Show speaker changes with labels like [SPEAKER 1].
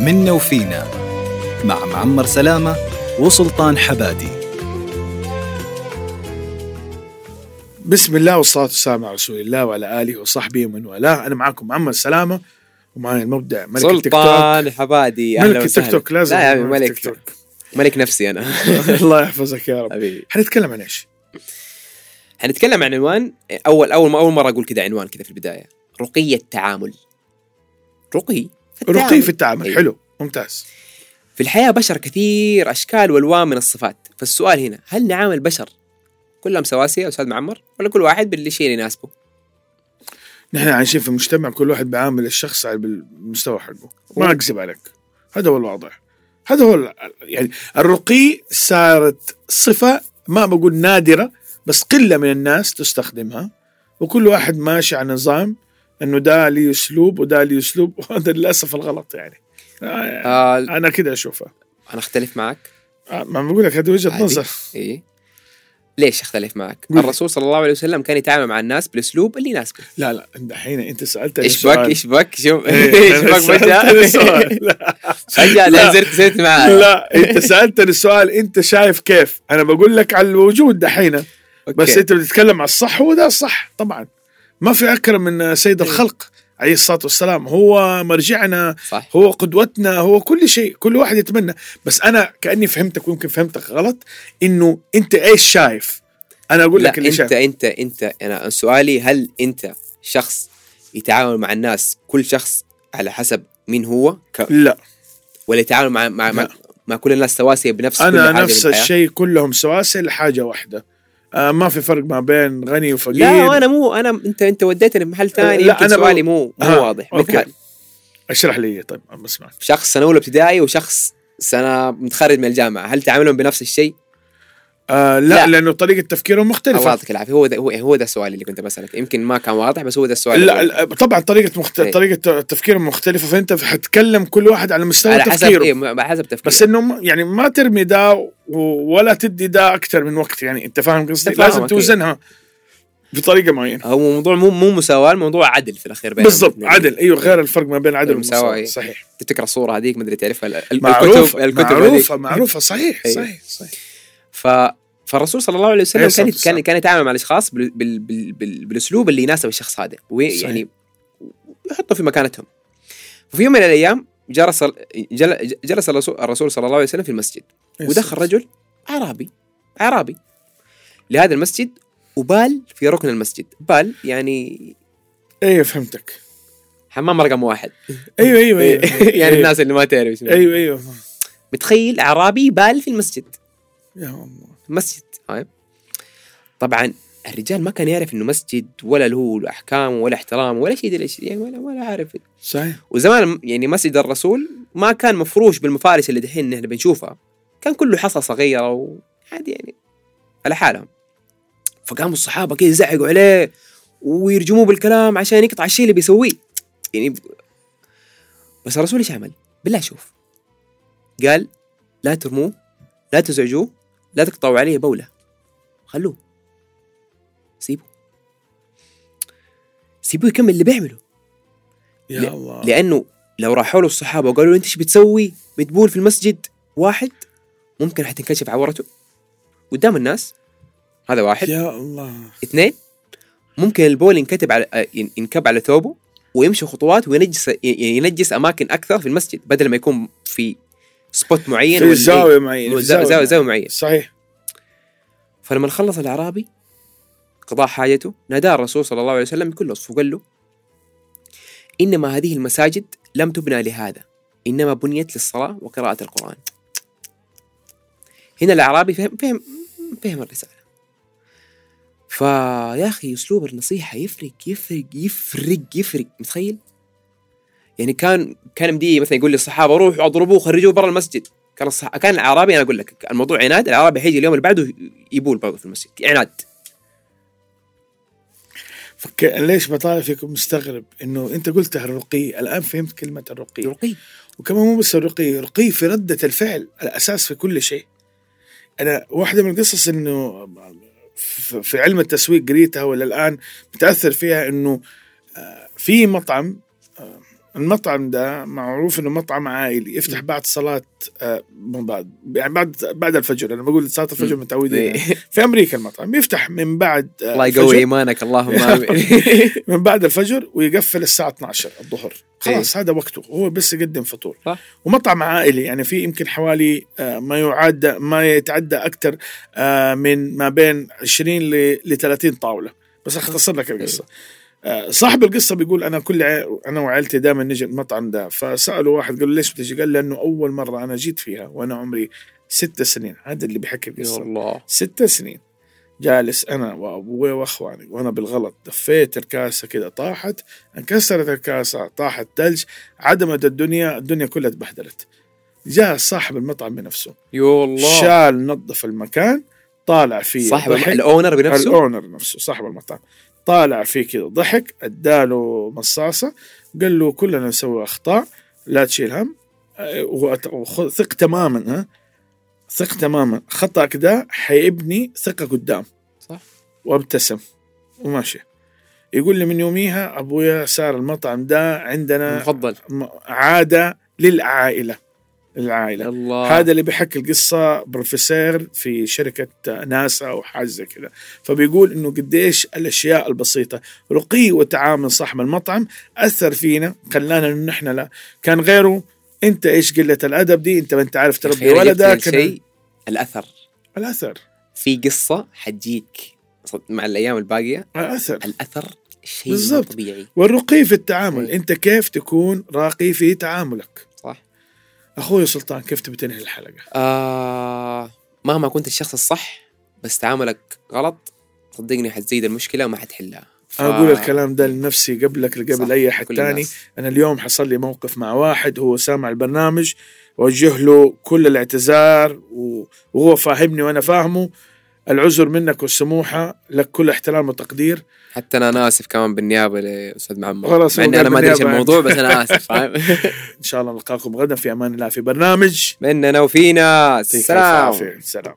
[SPEAKER 1] منا وفينا مع معمر سلامة وسلطان حبادي
[SPEAKER 2] بسم الله والصلاة والسلام على رسول الله وعلى آله وصحبه ومن والاه أنا معاكم محمد سلامة ومعاي المبدع ملك التيك توك
[SPEAKER 3] سلطان حبادي أهلا
[SPEAKER 2] ملك التيك
[SPEAKER 3] وسهلا.
[SPEAKER 2] توك لازم
[SPEAKER 3] لا يا حبيبي،
[SPEAKER 2] ملك
[SPEAKER 3] ملك
[SPEAKER 2] التيك توك.
[SPEAKER 3] ملك نفسي انا
[SPEAKER 2] الله يحفظك يا رب
[SPEAKER 3] حبيبي
[SPEAKER 2] حنتكلم عن ايش؟
[SPEAKER 3] حنتكلم عن عنوان اول اول ما اول مره اقول كذا عنوان كذا في البدايه رقي التعامل رقي في التعامل.
[SPEAKER 2] رقي في التعامل
[SPEAKER 3] أيوة.
[SPEAKER 2] حلو ممتاز
[SPEAKER 3] في الحياه بشر كثير اشكال والوان من الصفات فالسؤال هنا هل نعامل بشر كلهم سواسيه يا استاذ معمر ولا كل واحد بالشيء اللي يناسبه
[SPEAKER 2] نحن عايشين في مجتمع كل واحد بيعامل الشخص على المستوى حقه ما اكذب عليك هذا هو الواضح هذا هو ال- يعني الرقي صارت صفة ما بقول نادرة بس قلة من الناس تستخدمها وكل واحد ماشي على نظام انه ده لي اسلوب وده لي اسلوب وهذا للاسف الغلط يعني آه،
[SPEAKER 3] آه
[SPEAKER 2] انا كده اشوفها
[SPEAKER 3] انا اختلف معك
[SPEAKER 2] آه، ما بقول لك هذه وجهة
[SPEAKER 3] عادي.
[SPEAKER 2] نظر
[SPEAKER 3] ايه ليش اختلف معك؟
[SPEAKER 2] قول.
[SPEAKER 3] الرسول صلى الله عليه وسلم كان يتعامل مع الناس بالاسلوب اللي يناسبه
[SPEAKER 2] لا لا دحين انت سالتني
[SPEAKER 3] ايش بك
[SPEAKER 2] سؤال.
[SPEAKER 3] ايش بك شوف
[SPEAKER 2] إيه،
[SPEAKER 3] ايش
[SPEAKER 2] أنا
[SPEAKER 3] بك
[SPEAKER 2] سألتني
[SPEAKER 3] فجاه
[SPEAKER 2] سؤال. لا.
[SPEAKER 3] فجاه
[SPEAKER 2] لا.
[SPEAKER 3] لا زرت زرت معاه
[SPEAKER 2] لا انت سالتني السؤال انت شايف كيف انا بقول لك على الوجود دحين
[SPEAKER 3] أوكي.
[SPEAKER 2] بس انت بتتكلم على الصح وده صح طبعا ما في اكرم من سيد الخلق عليه الصلاه والسلام هو مرجعنا
[SPEAKER 3] صح
[SPEAKER 2] هو قدوتنا هو كل شيء كل واحد يتمنى بس انا كاني فهمتك ويمكن فهمتك غلط انه انت ايش شايف انا اقول
[SPEAKER 3] لا
[SPEAKER 2] لك اللي
[SPEAKER 3] انت
[SPEAKER 2] شايف
[SPEAKER 3] انت انت انا سؤالي هل انت شخص يتعامل مع الناس كل شخص على حسب مين هو ك...
[SPEAKER 2] لا
[SPEAKER 3] ولا يتعامل مع مع, مع,
[SPEAKER 2] لا.
[SPEAKER 3] مع كل الناس سواسيه بنفس كل
[SPEAKER 2] انا
[SPEAKER 3] حاجة
[SPEAKER 2] نفس
[SPEAKER 3] في الحياة؟
[SPEAKER 2] الشيء كلهم سواسية لحاجه واحده آه ما في فرق ما بين غني وفقير
[SPEAKER 3] لا انا مو انا انت انت وديتني في محل ثاني
[SPEAKER 2] أه، لا،
[SPEAKER 3] يمكن
[SPEAKER 2] أنا بقول-
[SPEAKER 3] سؤالي مو مو
[SPEAKER 2] آه،
[SPEAKER 3] واضح
[SPEAKER 2] أوكي.
[SPEAKER 3] مثال
[SPEAKER 2] اشرح لي طيب أنا بسمعك
[SPEAKER 3] شخص سنه اولى ابتدائي وشخص سنه متخرج من الجامعه هل تعاملهم بنفس الشيء؟
[SPEAKER 2] آه لا, لا
[SPEAKER 3] لا.
[SPEAKER 2] لانه طريقه تفكيرهم
[SPEAKER 3] الله
[SPEAKER 2] مختلفه
[SPEAKER 3] يعطيك العافيه هو ده هو, هو ده السؤال اللي كنت بسالك يمكن ما كان واضح بس هو ده السؤال
[SPEAKER 2] لا
[SPEAKER 3] الأول.
[SPEAKER 2] لا، طبعا طريقه مخت...
[SPEAKER 3] إيه.
[SPEAKER 2] طريقه تفكيرهم مختلفه فانت حتكلم كل واحد على مستوى
[SPEAKER 3] على حسب
[SPEAKER 2] تفكيره
[SPEAKER 3] إيه على حسب تفكير
[SPEAKER 2] بس انه ما- يعني ما ترمي ده و- ولا تدي ده اكثر من وقت يعني انت فاهم قصدي
[SPEAKER 3] أنا فاهم،
[SPEAKER 2] لازم
[SPEAKER 3] أوكي.
[SPEAKER 2] توزنها بطريقه معينه
[SPEAKER 3] هو موضوع مو مو مساواه الموضوع عدل في يعني الاخير بين
[SPEAKER 2] بالضبط
[SPEAKER 3] الاتنين.
[SPEAKER 2] عدل ايوه غير الفرق ما بين عدل
[SPEAKER 3] المساواه،
[SPEAKER 2] والمساواه
[SPEAKER 3] إيه.
[SPEAKER 2] صحيح
[SPEAKER 3] تفتكر الصوره هذيك ما ادري تعرفها ال- ال-
[SPEAKER 2] معروفه
[SPEAKER 3] الكتب الكتب هذيك.
[SPEAKER 2] معروفه معروفه صحيح
[SPEAKER 3] إيه.
[SPEAKER 2] صحيح صحيح
[SPEAKER 3] ف فالرسول صلى الله عليه
[SPEAKER 2] عليه
[SPEAKER 3] وسلم
[SPEAKER 2] الصلاة
[SPEAKER 3] كان
[SPEAKER 2] والسلام.
[SPEAKER 3] كان كان يتعامل مع الاشخاص بال... بال... بال... بال... بالاسلوب اللي يناسب الشخص هذا ويعني يحطهم في مكانتهم وفي يوم من الايام جلس جل- جلس الرسول- الرسول صلى الله عليه وسلم في المسجد
[SPEAKER 2] إيه،
[SPEAKER 3] ودخل رجل اعرابي اعرابي لهذا المسجد وبال في ركن المسجد بال يعني
[SPEAKER 2] ايوه فهمتك
[SPEAKER 3] حمام رقم واحد
[SPEAKER 2] ايوه ايوه ايوه
[SPEAKER 3] يعني
[SPEAKER 2] أيوة.
[SPEAKER 3] الناس اللي ما تعرف اسمه.
[SPEAKER 2] ايوه ايوه
[SPEAKER 3] متخيل اعرابي بال في المسجد
[SPEAKER 2] يا الله
[SPEAKER 3] مسجد طيب طبعا الرجال ما كان يعرف انه مسجد ولا له له احكام ولا احترام ولا شيء دلش يعني ولا ولا عارف
[SPEAKER 2] صحيح
[SPEAKER 3] وزمان يعني مسجد الرسول ما كان مفروش بالمفارش اللي دحين احنا بنشوفها كان كله حصى صغيره وعادي يعني على حالهم فقاموا الصحابه كذا يزعقوا عليه ويرجموه بالكلام عشان يقطع الشيء اللي بيسويه يعني ب- بس الرسول ايش عمل؟ بالله شوف قال لا ترموه لا تزعجوه لا تقطعوا عليه بوله خلوه سيبوه سيبوه يكمل اللي بيعمله
[SPEAKER 2] يا الله
[SPEAKER 3] لانه لو راحوا له الصحابه وقالوا له انت ايش بتسوي؟ بتبول في المسجد واحد ممكن حتنكشف عورته قدام الناس هذا واحد
[SPEAKER 2] يا الله
[SPEAKER 3] اثنين ممكن البول ينكتب على آه، ين- ينكب على ثوبه ويمشي خطوات وينجس ي- ينجس اماكن اكثر في المسجد بدل ما يكون في سبوت معين
[SPEAKER 2] في
[SPEAKER 3] ولا-
[SPEAKER 2] زاويه معينه
[SPEAKER 3] ولا
[SPEAKER 2] في
[SPEAKER 3] زاويه زاويه, زاوية معينه
[SPEAKER 2] صحيح
[SPEAKER 3] فلما خلص الاعرابي قضاء حاجته نادى الرسول صلى الله عليه وسلم بكل وصف وقال له انما هذه المساجد لم تبنى لهذا انما بنيت للصلاه وقراءه القران هنا الاعرابي فهم فهم فهم الرساله فيا اخي اسلوب النصيحه يفرق يفرق يفرق يفرق متخيل يعني كان كان مدي مثلا يقول للصحابه روحوا اضربوه خرجوه برا المسجد كان الصح... كان الاعرابي انا اقول لك الموضوع عناد الاعرابي حيجي اليوم اللي بعده يبول برضه في المسجد عناد
[SPEAKER 2] فك... ليش بطالع فيكم مستغرب انه انت قلت الرقي الان فهمت كلمه الرقي
[SPEAKER 3] رقي
[SPEAKER 2] وكمان مو بس الرقي رقي في ردة الفعل الأساس في كل شيء أنا واحدة من القصص أنه ف- في علم التسويق قريتها ولا الآن متأثر فيها أنه آه، في مطعم آه، المطعم ده معروف انه مطعم عائلي يفتح بعد صلاه آه، من بعد يعني بعد بعد الفجر انا بقول صلاه الفجر
[SPEAKER 3] إيه.
[SPEAKER 2] متعودين في امريكا المطعم يفتح من بعد آه،
[SPEAKER 3] الله
[SPEAKER 2] الفجر.
[SPEAKER 3] يقوي ايمانك اللهم امين
[SPEAKER 2] من بعد الفجر ويقفل الساعه 12 الظهر خلاص هذا وقته هو بس يقدم فطور
[SPEAKER 3] صح.
[SPEAKER 2] ومطعم عائلي يعني في يمكن حوالي آه، ما يعد ما يتعدى اكثر آه، من ما بين 20 ل 30 طاوله بس اختصر لك القصه آه، صاحب القصه بيقول انا كل عي... انا وعائلتي دائما نجي المطعم ده فساله واحد قال له ليش بتجي؟ قال لانه اول مره انا جيت فيها وانا عمري ست سنين هذا اللي بيحكي
[SPEAKER 3] يا
[SPEAKER 2] القصه
[SPEAKER 3] الله
[SPEAKER 2] ست سنين جالس انا وابوي واخواني وانا بالغلط دفيت الكاسه كده طاحت انكسرت الكاسه طاحت ثلج عدمت الدنيا الدنيا كلها اتبهدلت جاء صاحب المطعم بنفسه
[SPEAKER 3] يا الله
[SPEAKER 2] شال نظف المكان طالع فيه
[SPEAKER 3] صاحب
[SPEAKER 2] ضحك.
[SPEAKER 3] الاونر بنفسه
[SPEAKER 2] الاونر نفسه صاحب المطعم طالع فيه كذا ضحك اداله مصاصه قال له كلنا نسوي اخطاء لا تشيل هم أه، وأت- وخ- ثق تماما ها ثق تماما خطأك ده حيبني ثقة قدام
[SPEAKER 3] صح.
[SPEAKER 2] وابتسم وماشي يقول لي من يوميها ابويا صار المطعم ده عندنا
[SPEAKER 3] المفضل
[SPEAKER 2] م- عادة للعائلة العائلة
[SPEAKER 3] الله
[SPEAKER 2] هذا اللي بيحكي القصة بروفيسور في شركة ناسا أو حاجة زي كذا فبيقول إنه قديش الأشياء البسيطة رقي وتعامل صاحب المطعم أثر فينا خلانا إنه نحن لا كان غيره أنت إيش قلة الأدب دي أنت ما أنت عارف تربي
[SPEAKER 3] تخيل
[SPEAKER 2] ولدك
[SPEAKER 3] جبت شيء الاثر
[SPEAKER 2] الأثر
[SPEAKER 3] في قصه حتجيك صد- مع الايام الباقيه
[SPEAKER 2] الأثر
[SPEAKER 3] الاثر شيء مو
[SPEAKER 2] بالضبط.
[SPEAKER 3] طبيعي
[SPEAKER 2] والرقي في التعامل
[SPEAKER 3] إيه.
[SPEAKER 2] أنت كيف تكون راقي في تعاملك
[SPEAKER 3] صح
[SPEAKER 2] أخوي سلطان كيف تبي تنهي الحلقة
[SPEAKER 3] آه مهما كنت الشخص الصح بس تعاملك غلط صدقني حتزيد المشكله وما حتحلها ف-
[SPEAKER 2] أنا أقول الكلام ده لنفسي قبلك لقبل
[SPEAKER 3] صح،
[SPEAKER 2] أي أحد
[SPEAKER 3] كل
[SPEAKER 2] تاني
[SPEAKER 3] الناس.
[SPEAKER 2] انا اليوم حصل لي موقف مع واحد هو سامع البرنامج وجه له كل الاعتذار و- وهو فاهمني وانا فاهمه العذر منك والسموحه لك كل احترام وتقدير
[SPEAKER 3] حتى انا انا اسف كمان بالنيابه لاستاذ معمر
[SPEAKER 2] خلاص،
[SPEAKER 3] مع
[SPEAKER 2] هو
[SPEAKER 3] اني انا
[SPEAKER 2] قال
[SPEAKER 3] ما ادري ايش
[SPEAKER 2] بالنيابة يعني.
[SPEAKER 3] الموضوع بس انا اسف فاهم
[SPEAKER 2] ان شاء الله نلقاكم غدا في امان الله في برنامج
[SPEAKER 3] مننا وفينا
[SPEAKER 2] يعطيك
[SPEAKER 3] السلام
[SPEAKER 2] العافية. سلام